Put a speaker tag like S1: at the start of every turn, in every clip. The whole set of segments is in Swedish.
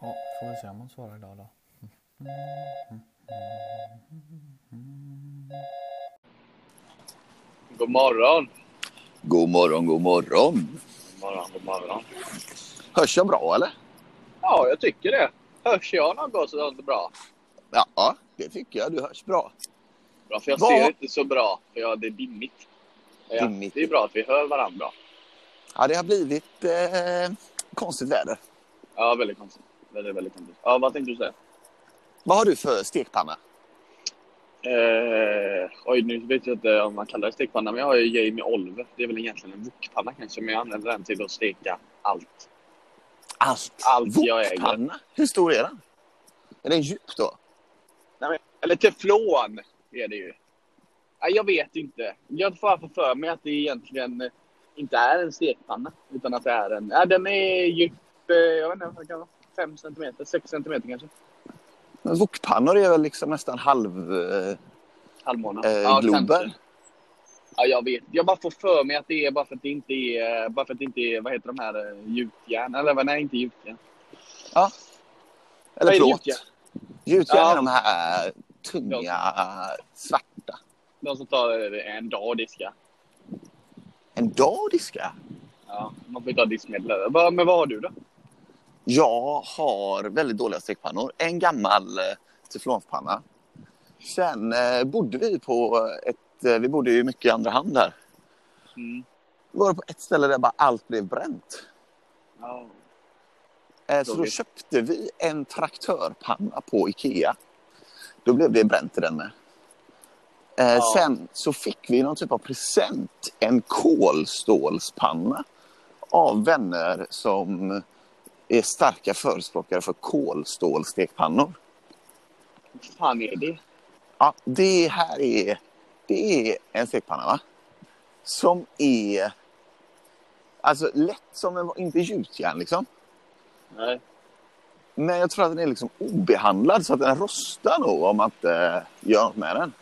S1: Ja, får vi se om hon svarar idag då.
S2: God morgon.
S3: God morgon, god morgon.
S2: God morgon, god morgon.
S3: Hörs jag bra eller?
S2: Ja, jag tycker det. Hörs jag något så är det bra.
S3: Ja, det tycker jag. Du hörs bra.
S2: Bra, för jag
S3: Vad-
S2: ser inte så bra, för jag, det är dimmigt. Ja,
S3: Dimmigt.
S2: Det är bra att vi hör varandra bra.
S3: Ja, det har blivit eh, konstigt väder.
S2: Ja, väldigt konstigt. Väldigt, väldigt konstigt. Ja, vad tänkte du säga?
S3: Vad har du för stekpanna?
S2: Eh, oj, nu vet jag inte om man kallar det stekpanna, men jag har ju Jamie Oliver. Det är väl egentligen en wokpanna kanske, men jag använder den till att steka allt.
S3: Allt.
S2: Allt jag
S3: Wokpanna? Hur stor är den? Är den djup då?
S2: Eller teflon är det ju. Nej, jag vet inte. Jag får bara för mig att det egentligen inte är en stekpanna, utan att det är en... Ja, den är djup, eh, jag vet inte vad det kan vara, 5 centimeter, 6 centimeter kanske.
S3: Men Wokpannor är väl liksom nästan halv... Eh,
S2: Halvmåne.
S3: Eh, Globen?
S2: kanske. Ja, jag vet. Jag bara får för mig att det är bara för att det inte är, bara för att det inte är, vad heter de här, eh, gjutjärn? Eller vad, nej, inte gjutjärn. Vad
S3: eller
S2: är det,
S3: plåt.
S2: gjutjärn?
S3: Gjutjärn
S2: Ja.
S3: är de här tunga, svarta.
S2: De som tar eh, en dag att diska.
S3: En dag att diska?
S2: Ja, man får ju ta diskmedel. där. Va- Men vad har du då?
S3: Jag har väldigt dåliga stekpannor. En gammal eh, teflonpanna. Sen eh, bodde vi på ett... Eh, vi bodde ju mycket i andra hand där.
S2: Mm.
S3: Vi var på ett ställe där bara allt blev bränt.
S2: Ja.
S3: Eh, så då
S2: Tråkigt.
S3: köpte vi en traktörpanna på Ikea. Då blev det bränt i den med. Eh,
S2: Ja.
S3: Sen så fick vi någon typ av present. En kolstålspanna av vänner som är starka förespråkare för kolstålstekpannor.
S2: Vad fan är det?
S3: Ja, det här är, det är en stekpanna, va? Som är alltså, lätt som en... Inte gjutjärn, liksom.
S2: Nej.
S3: Men jag tror att den är liksom obehandlad så att den rostar nog om man inte eh, gör något med den.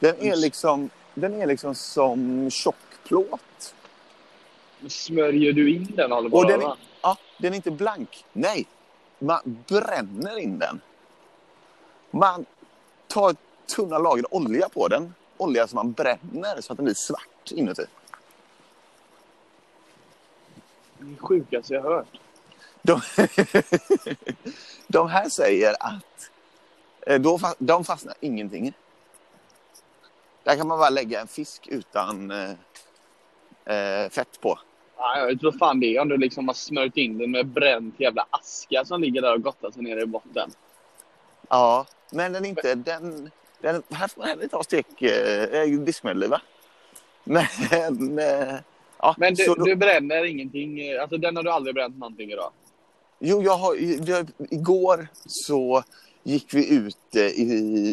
S3: Den är liksom, den är liksom som tjock plåt.
S2: Men smörjer du in den eller
S3: Och
S2: vad?
S3: den, är, ja, den är inte blank. Nej, man bränner in den. Man tar tunna lager olja på den. Olja som man bränner så att den blir svart inuti.
S2: Det är det sjukaste jag hört.
S3: De, de här säger att eh, då, fa- de fastnar ingenting. i. Där kan man bara lägga en fisk utan eh, eh, fett på.
S2: Ja, jag vet inte vad fan det är om du liksom har smörjt in den med bränd jävla aska som ligger där och gottar sig nere i botten.
S3: Ja, men den är inte... Den, den, här får man heller inte ha stek, eh, eh, diskmedel i, va? Men... Eh, ja,
S2: Men du,
S3: så då,
S2: du bränner ingenting. eh, Alltså den har du aldrig bränt någonting idag.
S3: Jo, jag har, jag, igår så gick vi ut eh, i,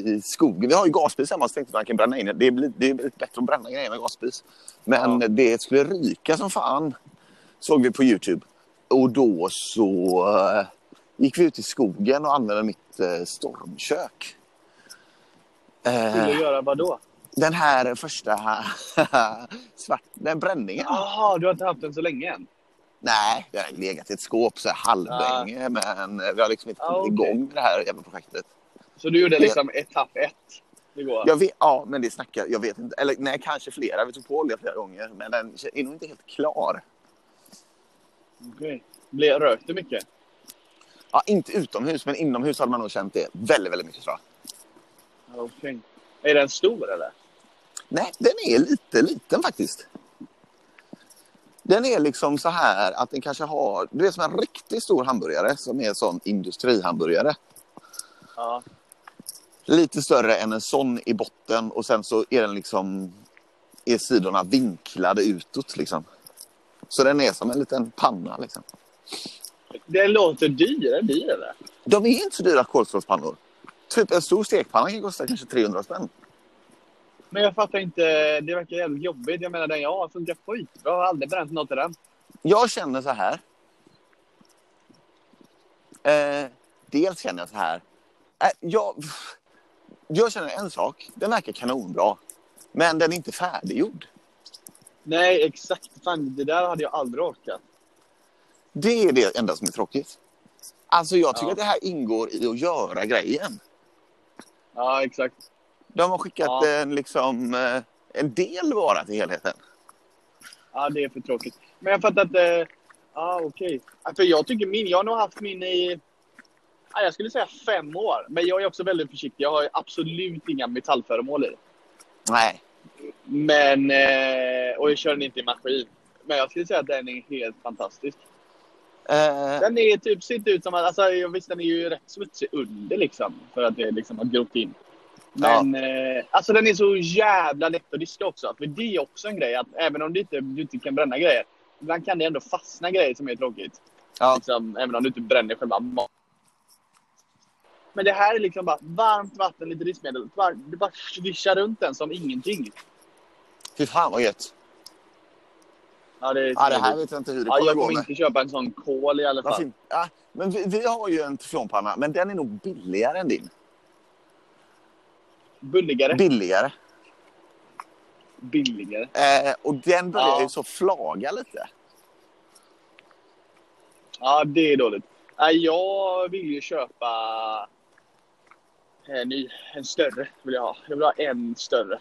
S3: i skogen. Vi har ju gasspis hemma så tänkte jag att man kan bränna in det. Det är, bli- det är lite bättre att bränna grejer med gasspis. Men
S2: Ja.
S3: det skulle ryka som fan, såg vi på Youtube. Och då så eh, gick vi ut i skogen och använde mitt eh, stormkök.
S2: Skulle
S3: Eh,
S2: du göra vad då?
S3: den här första svart, den bränningen.
S2: Jaha, du har inte haft den så länge än?
S3: Nej, jag har legat i ett skåp så här halvlänge, men vi har liksom inte
S2: Ja,
S3: kommit
S2: okej.
S3: igång med det här jävla projektet.
S2: Så du gjorde
S3: Ja.
S2: liksom etapp ett igår?
S3: Jag vet, ja, men det snackar jag vet inte. Eller nej, kanske flera. Vi tog på olja flera gånger, men den är nog inte helt klar.
S2: Okej. Ble, rökte mycket?
S3: Ja, inte utomhus, men inomhus hade man nog känt det väldigt, väldigt mycket tror jag.
S2: Okej. Är den stor eller?
S3: Nej, den är lite liten faktiskt. Den är liksom så här att den kanske har... Du vet som en riktigt stor hamburgare som är en sån industrihamburgare.
S2: Ja.
S3: lite större än en sån i botten och sen så är den liksom är sidorna vinklade utåt liksom. Så den är som en liten panna liksom.
S2: Den låter dyr. Är den dyr eller?
S3: De är inte så dyra kolstråspannor. Typ en stor stekpanna kan kosta kanske 300 spänn.
S2: Men jag fattar inte. Det verkar jävligt jobbigt. Jag menar den jag har funkar skitbra. Jag har aldrig bränt något i den.
S3: Jag känner så här. Eh, dels känner jag så här. Eh, jag, jag känner en sak. Den verkar kanonbra. Men den är inte färdiggjord.
S2: Nej, exakt. Fan, det där hade jag aldrig orkat.
S3: Det är det enda som är tråkigt. Alltså jag tycker
S2: Ja.
S3: att det här ingår i att göra grejen.
S2: Ja, exakt.
S3: De har skickat
S2: Ja.
S3: en, liksom, eh, en del vara till helheten.
S2: Ja, det är för tråkigt. Men jag fattar inte. Ja, okej. Ja, För jag tycker min, jag har nog haft min i, ja, jag skulle säga fem år. Men jag är också väldigt försiktig. Jag har ju absolut inga metallföremål i.
S3: Nej,
S2: Men, eh, och jag kör den inte i maskin. Men jag skulle säga att den är helt fantastisk.
S3: eh,
S2: Den är typ, ser inte ut som att, alltså jag visst den är ju rätt smutsig under liksom. För att det liksom har grott in. Men, eh, alltså den är så jävla lätt att diska också. För det är också en grej att även om du inte, du inte kan bränna grejer. Ibland kan det ändå fastna grejer som är tråkigt.
S3: Ja.
S2: Liksom, även om du inte bränner själva maten. Men det här är liksom bara varmt vatten, lite diskmedel. Bara- Du bara svischar runt den som ingenting.
S3: fy fan vad gött.
S2: Ja, det, är
S3: Ja, det här
S2: trevligt.
S3: vet jag inte hur det
S2: Ja,
S3: kommer
S2: jag
S3: gå
S2: kommer
S3: med.
S2: inte köpa en sån kol i alla
S3: Vad
S2: fall.
S3: fint. Ja, men vi, vi har ju en teflonpanna, men den är nog billigare än din.
S2: Billigare.
S3: Billigare.
S2: Billigare.
S3: Eh, och den börjar
S2: Ja.
S3: ju så flaga lite.
S2: Ja, det är dåligt. Ja, jag vill ju köpa en ny. En större vill jag ha. Jag vill ha en större.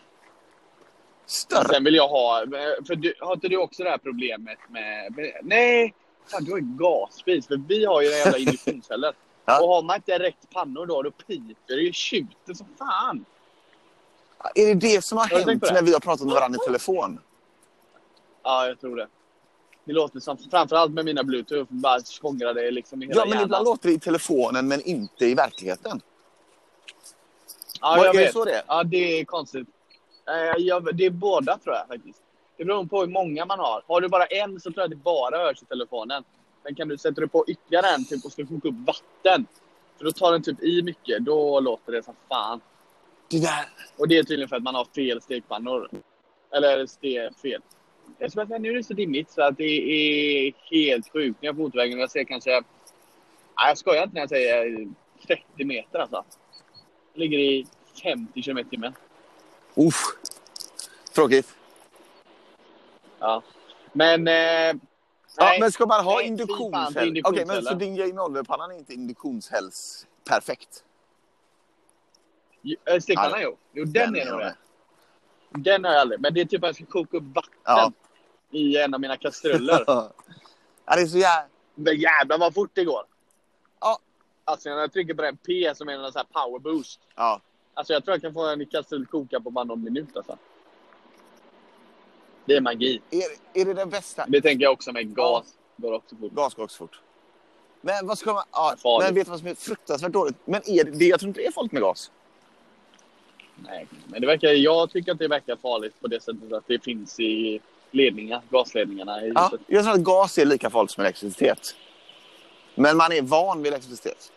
S3: Större.
S2: Sen vill jag ha... För du, har inte du också det här problemet med... med nej! Fan, du har ju gasspis. För vi har ju den jävla induktionsfällen.
S3: Ja.
S2: Och har man inte rätt pannor då, då piper det ju tjuter som fan.
S3: Är det det som har
S2: du tänkt
S3: hänt
S2: på det?
S3: när vi har pratat med varandra i telefon?
S2: Ja, jag tror det. Det låter som, framförallt med mina bluetooth, bara skångrar det liksom i hela
S3: Ja, men
S2: hjärnan.
S3: ibland låter det i telefonen, men inte i verkligheten.
S2: Ja,
S3: Vad-
S2: jag
S3: är det
S2: vet.
S3: så det är?
S2: Ja, det är konstigt. Eh, Jag, det är båda tror jag faktiskt. Det beror på hur många man har. Har du bara en så tror jag det bara hörs i telefonen. Men kan du sätta du på ytterligare en typ, och ska koka upp vatten. För då tar den typ i mycket. Då låter det som fan.
S3: Det där.
S2: Och det är tydligen för att man har fel stekpannor. Eller ste, fel. Jag tror att nu är det så dimmigt så att det är helt sjukt. När jag är på motorvägen och jag ser kanske... Nej, jag skojar inte när jag säger 30 meter alltså. Jag ligger i 50 km i timmen.
S3: Uff. Tråkigt.
S2: Ja. Men... Eh,
S3: Ja,
S2: nej.
S3: men ska man ha
S2: Nej, fy fan, det är
S3: induktionshäll? Okej, men
S2: induktionshäll.
S3: så din J0-pannan är inte induktionshälls perfekt?
S2: Ju- eh, Stekpannan,
S3: Ja,
S2: jo. Jo, den,
S3: den
S2: är nog
S3: är
S2: det. Den har jag aldrig. Men det är typ att jag ska koka upp vatten
S3: Ja.
S2: i en av mina kastruller.
S3: ja, det är så jävla...
S2: men jävlar vad fort det går.
S3: Ja.
S2: Alltså när jag trycker på den P som är en sån här power boost.
S3: Ja.
S2: Alltså jag tror jag kan få en kastrull koka på bara någon minut alltså. Det är magi.
S3: Är, är det den bästa?
S2: Det tänker jag också med gas. Går också fort.
S3: Gas går också fort. Men vad ska man... Ja,
S2: Farligt.
S3: men vet du vad som är fruktansvärt dåligt? Men är det, det- jag tror inte det är farligt med gas.
S2: Nej, men det verkar, jag tycker att det verkar farligt på det sättet att det finns i ledningar, gasledningarna. I
S3: Ja,
S2: huset.
S3: jag tror att gas är lika farligt som elektricitet. Men man är van vid elektricitet.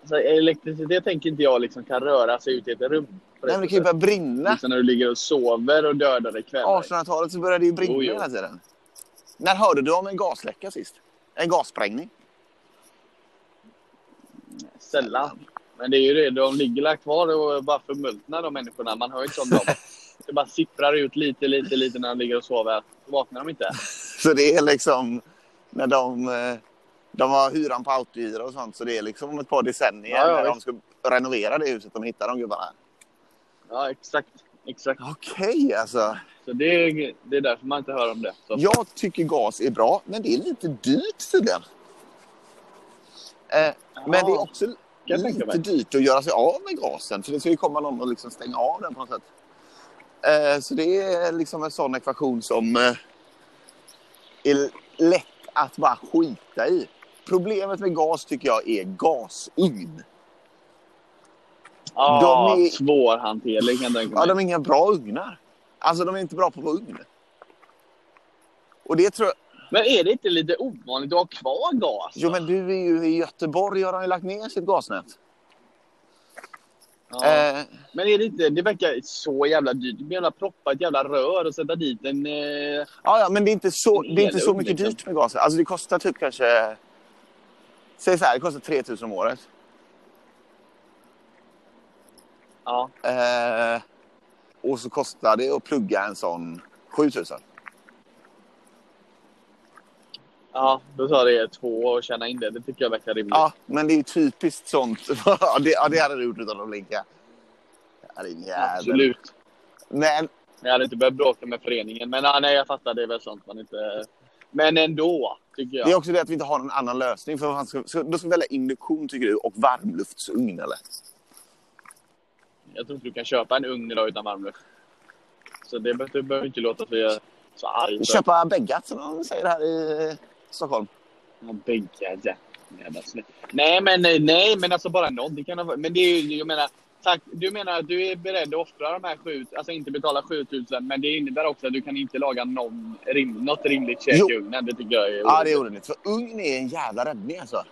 S2: Alltså, elektricitet tänker inte jag liksom kan röra sig ut i ett rum. på det
S3: Nej, men det kan
S2: sättet.
S3: ju börja brinna.
S2: Liksom när du ligger och sover och dödar dig kväll.
S3: 1800-talet så började det ju brinna
S2: Jo, jo.
S3: hela tiden. När hörde du om en gasläcka sist? En gassprängning?
S2: Sällan. Men det är ju det, de ligger där kvar och bara förmultnar de människorna. Man hör ju inte om dem. Det bara sipprar ut lite, lite, lite när de ligger och sover. Då vaknar de inte.
S3: Så det är liksom när de, eh, de har hyran på autohyra och sånt. Så det är liksom om ett par decennier
S2: Ja, ja,
S3: när de ska renovera det huset de hittar de gubbarna.
S2: Ja, exakt. Exakt.
S3: Okej, alltså.
S2: Så det är, det är därför man inte hör om det. Så.
S3: Jag tycker gas är bra, men det är lite dyrt tydligen. Eh, men det är också
S2: jag tänka
S3: lite
S2: mig.
S3: dyrt att göra sig av med gasen. För det ska ju komma någon och liksom stänga av den på något sätt. Eh, så det är liksom en sån ekvation som eh, är lätt att bara skita i. Problemet med gas tycker jag är gasugn.
S2: Ja,
S3: de är-
S2: Ah, svårhanterlig kan jag tänka
S3: Ja,
S2: mig.
S3: de är inga bra ugnar. Alltså de är inte bra på att vara ugn. Och det tror jag...
S2: Men är det inte lite ovanligt att ha kvar gas?
S3: Jo men du är ju i Göteborg har de ju lagt ner sitt gasnät.
S2: Ja.
S3: Eh,
S2: Men är det inte, det verkar så jävla dyrt. Det blir jävla proppa ett jävla rör och sätta dit en... Eh,
S3: Ja, ja, men det är inte så,
S2: En
S3: det är inte så
S2: elugn,
S3: mycket
S2: liksom.
S3: dyrt med gas. Alltså det kostar typ kanske... Säg så här, det kostar 3 000 om året.
S2: ja,
S3: Eh, och så kostar
S2: Mm.
S3: det att plugga en sån 7 000.
S2: Ja, då sa det två år att känna in det. Det tycker jag verkar rimligt.
S3: Ja, men det är ju typiskt sånt. Ja, det, ja, det hade du gjort utan att blinka. Ja, din jävel.
S2: Absolut.
S3: Men
S2: Jag hade inte behövt bråka med föreningen. Men ja, nej, jag fattar. Det är väl sånt man inte... Men ändå, tycker jag.
S3: det är också det att vi inte har någon annan lösning. För vad fan ska, ska, då ska vi välja induktion, tycker du, och varmluftsugn, eller?
S2: Jag tror inte du kan köpa en ugn idag utan varmluft. Så det be- du behöver inte låta så, jag- så arg. för.
S3: Köpa bäggat, som de säger här i Stockholm.
S2: Ja, bänkar, ja. Jävla snö. Nej, men nej, men alltså bara någon. Det kan ha, varit- men det är ju, jag menar, tack, du menar att du är beredd att offra de här sju, alltså inte betala 7000, men det innebär också att du kan inte laga någon, rim, något rimligt käk
S3: Jo.
S2: i ugnen. Det tycker jag är...
S3: Ja, det är orimligt. För ugn är en jävla räddning, alltså.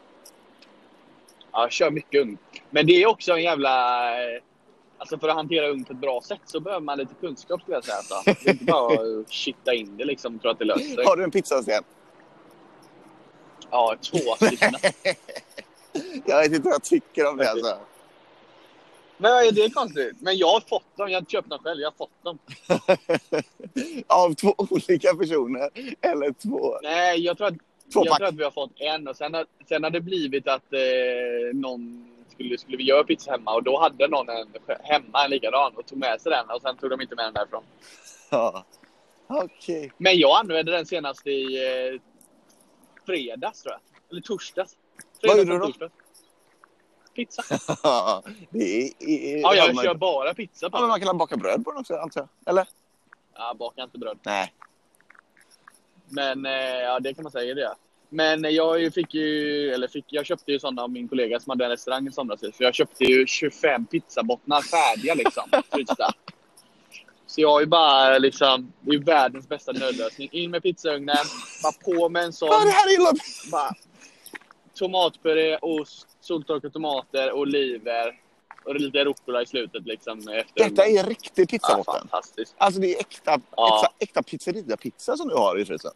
S2: Ja, kör mycket ugn. Men det är också en jävla... eh, Alltså för att hantera ugn på ett bra sätt så behöver man lite kunskap skulle jag säga. Alltså. Det är inte bara att kitta in det liksom och tro att det löser sig.
S3: Har du en pizzasten?
S2: Ja, två stycken.
S3: Jag vet inte vad jag tycker om det, alltså.
S2: Nej, det är konstigt. Men jag har fått dem. Jag har inte köpt dem själv. Jag har fått dem.
S3: Av två olika personer, eller två...
S2: Nej, jag tror att,
S3: Två
S2: jag
S3: pack.
S2: tror att vi har fått en. Och sen, har- sen har det blivit att eh, någon skulle, skulle vi göra pizza hemma och då hade någon en sj- hemma en likadan och tog med sig den och sen tog de inte med den därifrån.
S3: Ja. Okej.
S2: Men jag använde den senast i eh, fredags tror jag. Eller torsdags.
S3: Vad gjorde
S2: och
S3: du då?
S2: torsdags. Pizza.
S3: Ja, det är... är
S2: Ja,
S3: har
S2: jag
S3: man-
S2: kör bara pizza på
S3: Ja, men
S2: den.
S3: man kan baka bröd på den också, antar jag. Eller?
S2: Jag bakar inte bröd.
S3: Nej.
S2: Men eh, ja, det kan man säga det. är. Men eh, jag ju fick ju, eller fick, jag köpte ju sådana av min kollega som hade en restaurang i somras. Så jag köpte ju 25 pizzabottnar färdiga liksom. frysta. Så jag har ju bara liksom, det är ju världens bästa nödlösning. In med pizzaugnen, bara på med en sån.
S3: Ja, det här är illa.
S2: Bara tomatpuré, ost, soltorkade tomater, oliver och lite rucola i slutet liksom. Efter
S3: Detta
S2: ugnen.
S3: är riktig
S2: ja,
S3: pizzabotten.
S2: fantastiskt.
S3: Alltså det är äkta,
S2: Ja.
S3: äkta, äkta pizzeria-pizza som du har i frysen.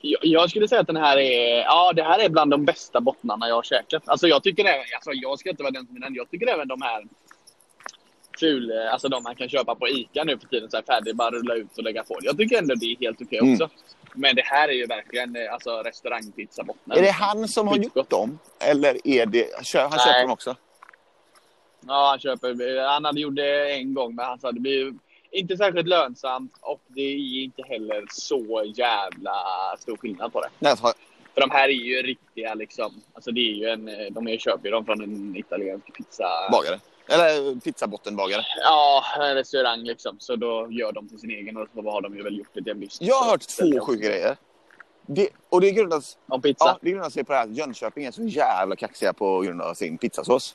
S2: Jag, jag skulle säga att den här är, ja, det här är bland de bästa bottnarna jag har käkat. Alltså, jag, tycker även, alltså, jag ska inte vara den som är den. Jag tycker även de här kul, eh, alltså de man kan köpa på ICA nu för tiden, så här färdig, bara rulla ut och lägga på. Jag tycker ändå det är helt okej
S3: Mm.
S2: också. Men det här är ju verkligen eh, alltså, restaurangpizzabottnar.
S3: Är det han som har gjort
S2: Skitgott.
S3: dem? Eller är det... Kör, han
S2: Nej.
S3: köper dem också?
S2: Ja, han köper. eh, Han hade gjort det en gång, men han sa det blir inte särskilt lönsamt och det är inte heller så jävla stor skillnad på det.
S3: Nej, så har-
S2: För de här är ju riktiga liksom. Alltså det är ju en, eh, de är, köper ju dem från en italiensk pizza.
S3: bagare. Eller pizzabottenbagare.
S2: Ja, en restaurang liksom. Så då gör de till sin egen och så har de ju väl gjort det till en business.
S3: Jag har hört
S2: Så det är
S3: två sjuka grejer. Det, och det grundas,
S2: Om pizza.
S3: ja, det grundas sig på det här att Jönköping är så jävla kaxiga på grund av sin pizzasås.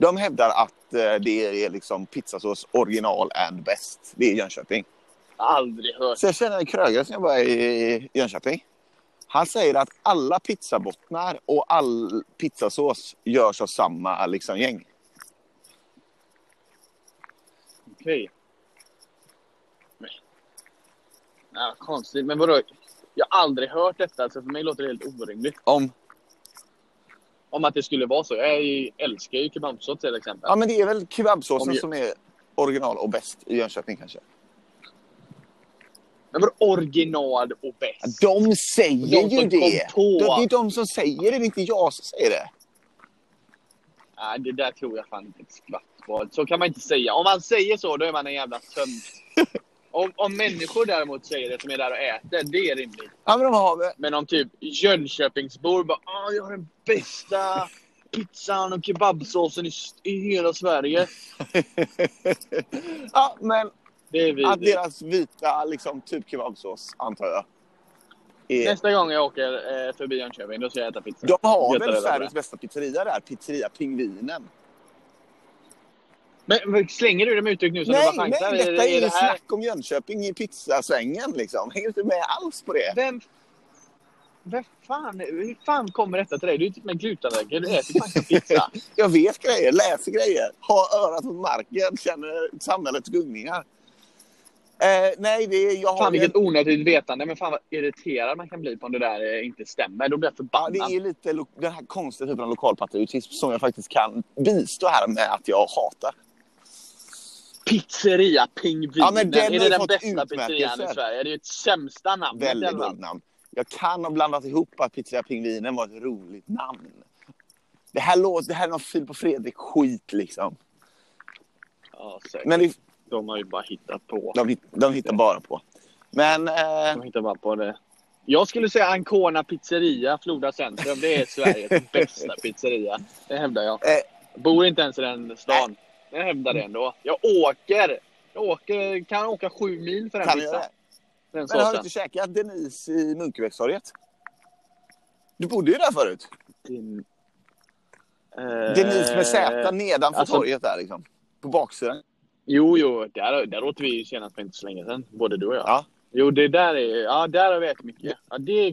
S3: De hävdar att eh, det är liksom pizzasås original and best. Det är Jönköping.
S2: Aldrig hört.
S3: Så jag känner en krögare som jobbar i Jönköping. Han säger att alla pizzabottnar och all pizzasås görs av samma liksom, gäng.
S2: Okej. Nej. Ja, konstigt. Men vadå? Jag har aldrig hört detta, så för mig låter det helt orimligt.
S3: Om...
S2: Om att det skulle vara så. Jag är ju, älskar ju kebabsås till exempel.
S3: Ja, men det är väl
S2: Om
S3: kebabsåsen
S2: ju-
S3: som är original och bäst i Jönköping kanske.
S2: Men vadå original och bäst?
S3: De säger
S2: De som
S3: ju
S2: kom
S3: det!
S2: på.
S3: De, det är de som säger det, det är inte jag som säger det.
S2: Nej, det där tror jag fan inte ett skvatt på. Så kan man inte säga. Om man säger så, då är man en jävla tönt. Om, om människor däremot säger det, som är där och äter, det är rimligt.
S3: Ja, men de har väl...
S2: Men om typ Jönköpingsbor bara "Ah, jag har den bästa pizzan och kebabsåsen i, s- i hela Sverige.
S3: ja, men
S2: Det är
S3: att
S2: vi.
S3: deras vita liksom, typ kebabsås, antar jag. Är...
S2: Nästa gång jag åker eh, förbi Jönköping, då ska jag äta pizza.
S3: De har
S2: Göta
S3: väl
S2: Röda
S3: Sveriges bästa pizzeria där? Pizzeria Pingvinen.
S2: Men, men slänger du det med uttryck nu som
S3: Nej,
S2: du bara
S3: nej,
S2: chansar?
S3: detta är,
S2: det
S3: ju snack om Jönköping i pizzasvängen. Liksom. Hänger inte med alls på det.
S2: Vem... Vem fan... Hur fan kommer detta till dig? Du är typ en glutenallergiker. Du äter faktiskt pizza.
S3: Jag vet grejer, läser grejer, har örat mot marken, känner samhällets gungningar. Eh, nej, det är, jag har
S2: Fan
S3: ju-
S2: vilket onödigt vetande, men fan vad irriterad man kan bli på om det där eh, inte stämmer. Då blir jag
S3: ja, det
S2: förbannad.
S3: är lite lo- den här konstiga typen av lokalpatriotism som jag faktiskt kan bistå här med att jag hatar.
S2: Pizzeria Pingvinen.
S3: Ja, men den
S2: är
S3: har ju
S2: det den
S3: fått
S2: bästa
S3: utmärkelser.
S2: pizzerian i Sverige? Det är ju ett sämsta namn.
S3: Väldigt bra namn. Jag kan ha blandat ihop att Pizzeria Pingvinen var ett roligt namn. Det här, låter, det här är någon Filip och Fredrik-skit liksom.
S2: Ja, säkert.
S3: Men det,
S2: De har ju bara hittat på.
S3: de, hit- de hittar bara på. Men eh,
S2: De hittar bara på det. Jag skulle säga Ancona pizzeria, Floda centrum. Det är Sveriges bästa pizzeria. Det hävdar jag.
S3: Eh.
S2: Bor inte ens i den stan. Jag hävdar det ändå. Jag åker. Jag åker, kan åka sju mil för den
S3: kan jag
S2: pizzan.
S3: det?
S2: Den
S3: Men har du
S2: såsen.
S3: inte käkat Denise i Munkebergstorget? Du bodde ju där förut.
S2: Din- Eh,
S3: Denise med Z nedanför
S2: alltså-
S3: torget där liksom. På baksidan.
S2: Jo, jo, där, där åt vi ju senast för inte så länge sedan. Både du och jag.
S3: Ja.
S2: Jo, det där är... Ja, där har vi ätit mycket. Ja, det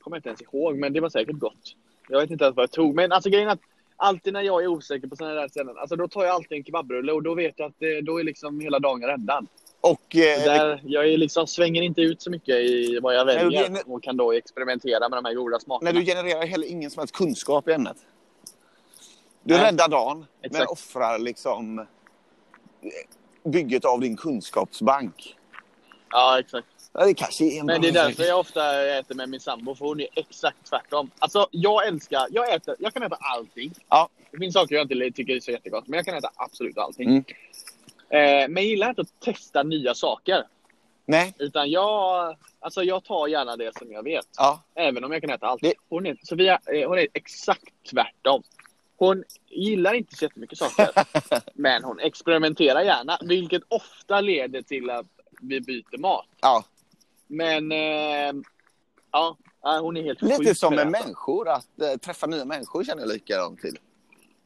S2: kommer jag inte ens ihåg, men det var säkert gott. Jag vet inte ens vad jag tog, men alltså grejen är att alltid när jag är osäker på sådana där ställen, alltså då tar jag alltid en kebabrulle och då vet jag att eh, då är liksom hela dagen räddad.
S3: Och eh,
S2: Där, jag är liksom, svänger inte ut så mycket i vad jag
S3: Nej, och
S2: väljer
S3: det-
S2: och kan då experimentera med de här goda smakerna.
S3: när du genererar heller ingen som helst kunskap i ämnet. Du
S2: Nej.
S3: räddar dagen, men
S2: Exakt.
S3: offrar liksom eh, bygget av din kunskapsbank.
S2: Ja, exakt.
S3: Ja, det kanske är en
S2: Men det är
S3: bra
S2: därför jag ofta äter med min sambo, för hon är exakt tvärtom. Alltså, jag älskar... Jag, äter, jag kan äta allting.
S3: Ja.
S2: Det finns saker jag inte tycker är så jättegott, men jag kan äta absolut allting.
S3: Mm.
S2: Eh, men jag gillar inte att testa nya saker.
S3: Nej,
S2: Utan jag, alltså jag tar gärna det som jag vet.
S3: ja.
S2: Även om jag kan äta allt.
S3: Det-
S2: Hon är, Sofia, eh, hon är exakt tvärtom. Hon gillar inte så jättemycket saker. men hon experimenterar gärna. Vilket ofta leder till att vi byter mat.
S3: ja.
S2: Men eh, ja, eh, hon är helt
S3: Lite
S2: sjuk
S3: som
S2: för
S3: med
S2: det.
S3: människor, att eh, träffa nya människor känner jag likadant till.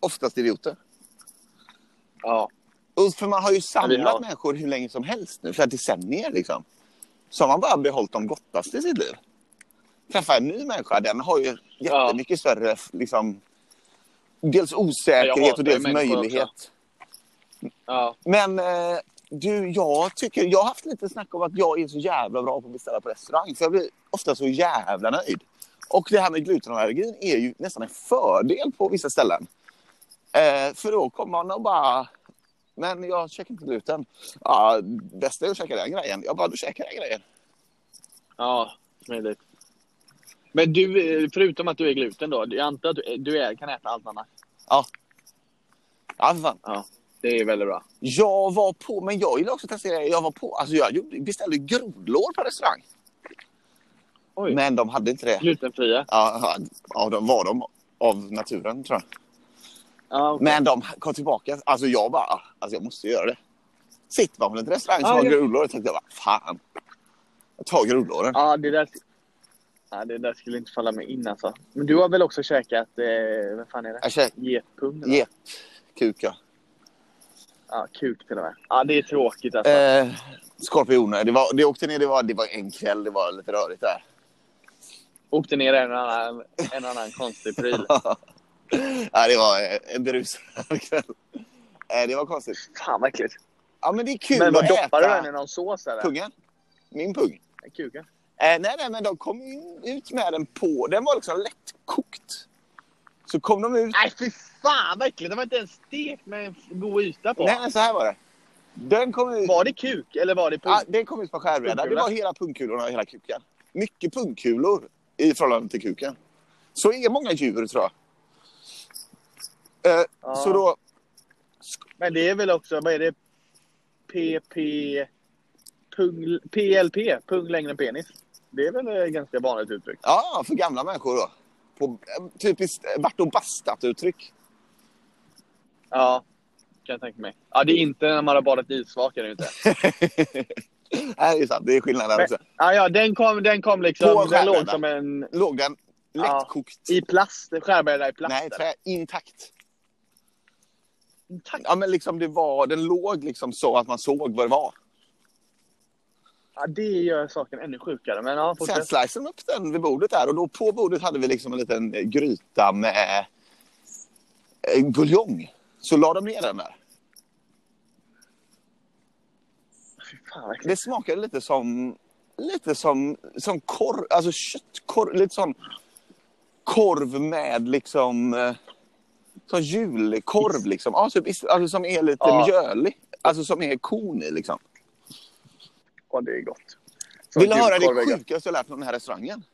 S3: Oftast idioter.
S2: Ja,
S3: Och för man har ju
S2: vi
S3: samlat
S2: har-
S3: människor hur länge som helst nu, flera decennier liksom. Så har man bara behållit de gottaste i sitt liv. Träffa en ny människa, den har ju
S2: Ja.
S3: jättemycket större, liksom, dels
S2: Ja, jag
S3: osäkerhet
S2: hatar
S3: och
S2: ju
S3: dels
S2: människor
S3: möjlighet.
S2: ja.
S3: Men eh, du, jag tycker, jag har haft lite snack om att jag är så jävla bra på att beställa på restaurang, för jag blir ofta så jävla nöjd. Och det här med glutenallergin är ju nästan en fördel på vissa ställen. Eh, för då kommer man och bara, men jag käkar inte gluten. Ja, bästa är att käka den grejen. Jag bara, du käkar den grejen.
S2: Ja, smidigt. Men du, eh, förutom att du är gluten då, jag antar att du, du är, kan äta allt annat?
S3: Ja, för fan.
S2: Ja, det är väldigt bra.
S3: Jag var på, men jag gillar också att testa grejer. Jag var på, alltså jag gjorde- beställde grodlår på restaurang.
S2: Oj.
S3: Men de hade inte det.
S2: Glutenfria?
S3: Ja, ja, ja, de var de av naturen tror jag.
S2: Ja, okej.
S3: Men de kom tillbaka. Alltså jag bara, ah, alltså jag måste göra det. Sitter man på en restaurang som
S2: Ja,
S3: har
S2: ja.
S3: grodlår och tänkte jag bara, fan. Jag tar grodlåren.
S2: ja det där... Ja, det där skulle inte falla mig in alltså. Men du har väl också käkat, eh, vad fan är det?
S3: Jag käkar
S2: Getpung? eller?
S3: getkuk, ja.
S2: Ja, kuk till och med. Ja, det är tråkigt alltså.
S3: Eh, skorpioner. Det, var, det åkte ner, det var, det var en kväll, det var lite rörigt där.
S2: Åkte ner en annan, en annan konstig pryl.
S3: ja, det var eh, en berusad kväll. Eh, det var konstigt.
S2: Fan vad äckligt.
S3: Ja, men det är kul
S2: Men vad
S3: att
S2: doppar du
S3: äta
S2: den i någon sås eller?
S3: pungen. Min pung.
S2: Kuken?
S3: Eh, nej, nej, men de kom in, ut med den på. Den var liksom lättkokt. Så kom de ut
S2: Nej fy fan vad äckligt! Den var inte ens stekt med en god yta på.
S3: Nej, nej, så här var det. Den kom ut,
S2: Var det kuk eller var det pung?
S3: ja, den kom ut på skärbrädan. Det
S2: Pungkula.
S3: var hela pungkulorna och hela kuken. Mycket pungkulor i förhållande till kuken. Så är många djur, tror jag. Eh,
S2: Ja.
S3: Så då...
S2: Men det är väl också, vad är det? PP... Pung, PLP, pung längre än penis. Det är väl ett ganska vanligt uttryck?
S3: Ja, för gamla människor då. På, eh, typiskt eh, vart och bastat-uttryck.
S2: Ja, kan jag tänka mig. Ja, det är inte när man har badat i isvak, är det ju inte.
S3: Nej, det är sant. Det är skillnad där
S2: Men-
S3: också.
S2: Ja, ja, den kom, den kom liksom,
S3: På
S2: den låg
S3: skärmen,
S2: som en...
S3: Låg den
S2: Ja.
S3: lättkokt?
S2: I plast, skärbräda i plast.
S3: Nej, trä, intakt.
S2: Intakt.
S3: Ja, men liksom det var, den låg liksom så att man såg vad det var.
S2: Ja, det gör saken ännu sjukare, men ja,
S3: Sen
S2: fortsätt.
S3: sliceade de upp den vid bordet där och då på bordet hade vi liksom en liten eh, gryta med eh, buljong. Så la de ner den där.
S2: Fy fan, vad äckligt.
S3: Det smakade lite som, lite som, som korv, alltså köttkorv, lite sån korv med liksom, eh, som julkorv liksom. Ja, typ, is- alltså som är lite
S2: Ja.
S3: mjölig, alltså som är korn i liksom.
S2: Ja, det är gott. Från
S3: Vill du höra det
S2: julkorvväggar.
S3: sjukaste jag lärt mig om den här restaurangen?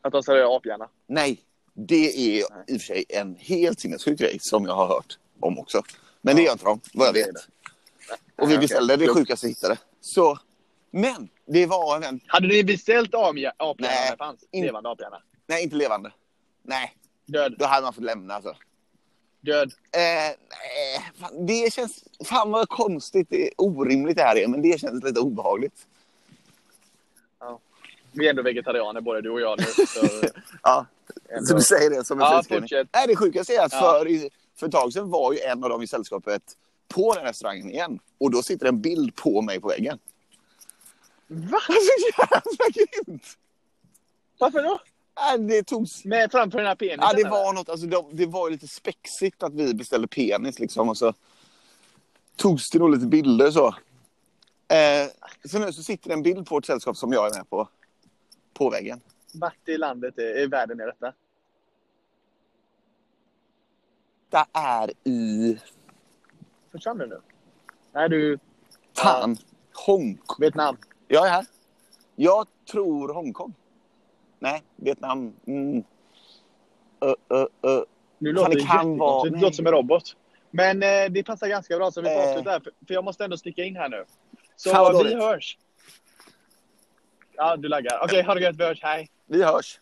S2: Att de serverar aphjärna.
S3: Nej, det är
S2: Nej.
S3: i och för sig en helt sinnessjuk grej som jag har hört om också. Men det
S2: Ja.
S3: gör inte de, vad jag
S2: Det är
S3: vet. Och
S2: Nej,
S3: vi
S2: okej.
S3: beställde det
S2: Klokt.
S3: sjukaste jag hittade. Så, men det var en vän,
S2: Hade ni beställt aphjärna när
S3: Nej.
S2: det fanns?
S3: In-
S2: Levande aphjärna.
S3: nej inte levande. Nej,
S2: Död.
S3: då hade man fått lämna alltså.
S2: Död.
S3: Eh, nej, fan, det känns, fan vad konstigt, det är orimligt det här är, men det känns lite obehagligt.
S2: Vi är ändå vegetarianer både du och jag nu. Så
S3: Ja,
S2: ändå.
S3: Så du säger det som en
S2: Ja,
S3: friskrivning?
S2: fortsätt.
S3: Nej, det sjukaste är att
S2: Ja.
S3: för, i- för ett tag sedan var ju en av dem i sällskapet på den restaurangen igen. Och då sitter en bild på mig på väggen.
S2: Va?
S3: Så jävla grymt!
S2: Varför då?
S3: Nej, det togs...
S2: Med framför den här penisen?
S3: Ja, det
S2: eller?
S3: var något, alltså, det, det var ju lite spexigt att vi beställde penis liksom. Och så togs det nog lite bilder så. Eh, så nu så sitter det en bild på ett sällskap som jag är med på. På väggen.
S2: Vart i landet, är, i världen är detta?
S3: Det är i...
S2: Försvann du nu? Nej, du.
S3: Fan! Hongkong.
S2: Vietnam.
S3: Jag är här. Jag tror Hongkong. Nej, Vietnam. Mm. Ö, ö, ö.
S2: Nu
S3: Fan,
S2: låter
S3: det
S2: det
S3: kan
S2: jättekonstigt.
S3: vara-
S2: Det
S3: nej.
S2: låter som en robot. Men eh, det passar ganska bra, så vi får
S3: Eh.
S2: avsluta här. För, för jag måste ändå sticka in här nu. Så
S3: Fan, vad
S2: vi
S3: dåligt.
S2: hörs. Ja, du laggar. Okej, ha det gött. Vi hörs. Hej.
S3: Vi hörs.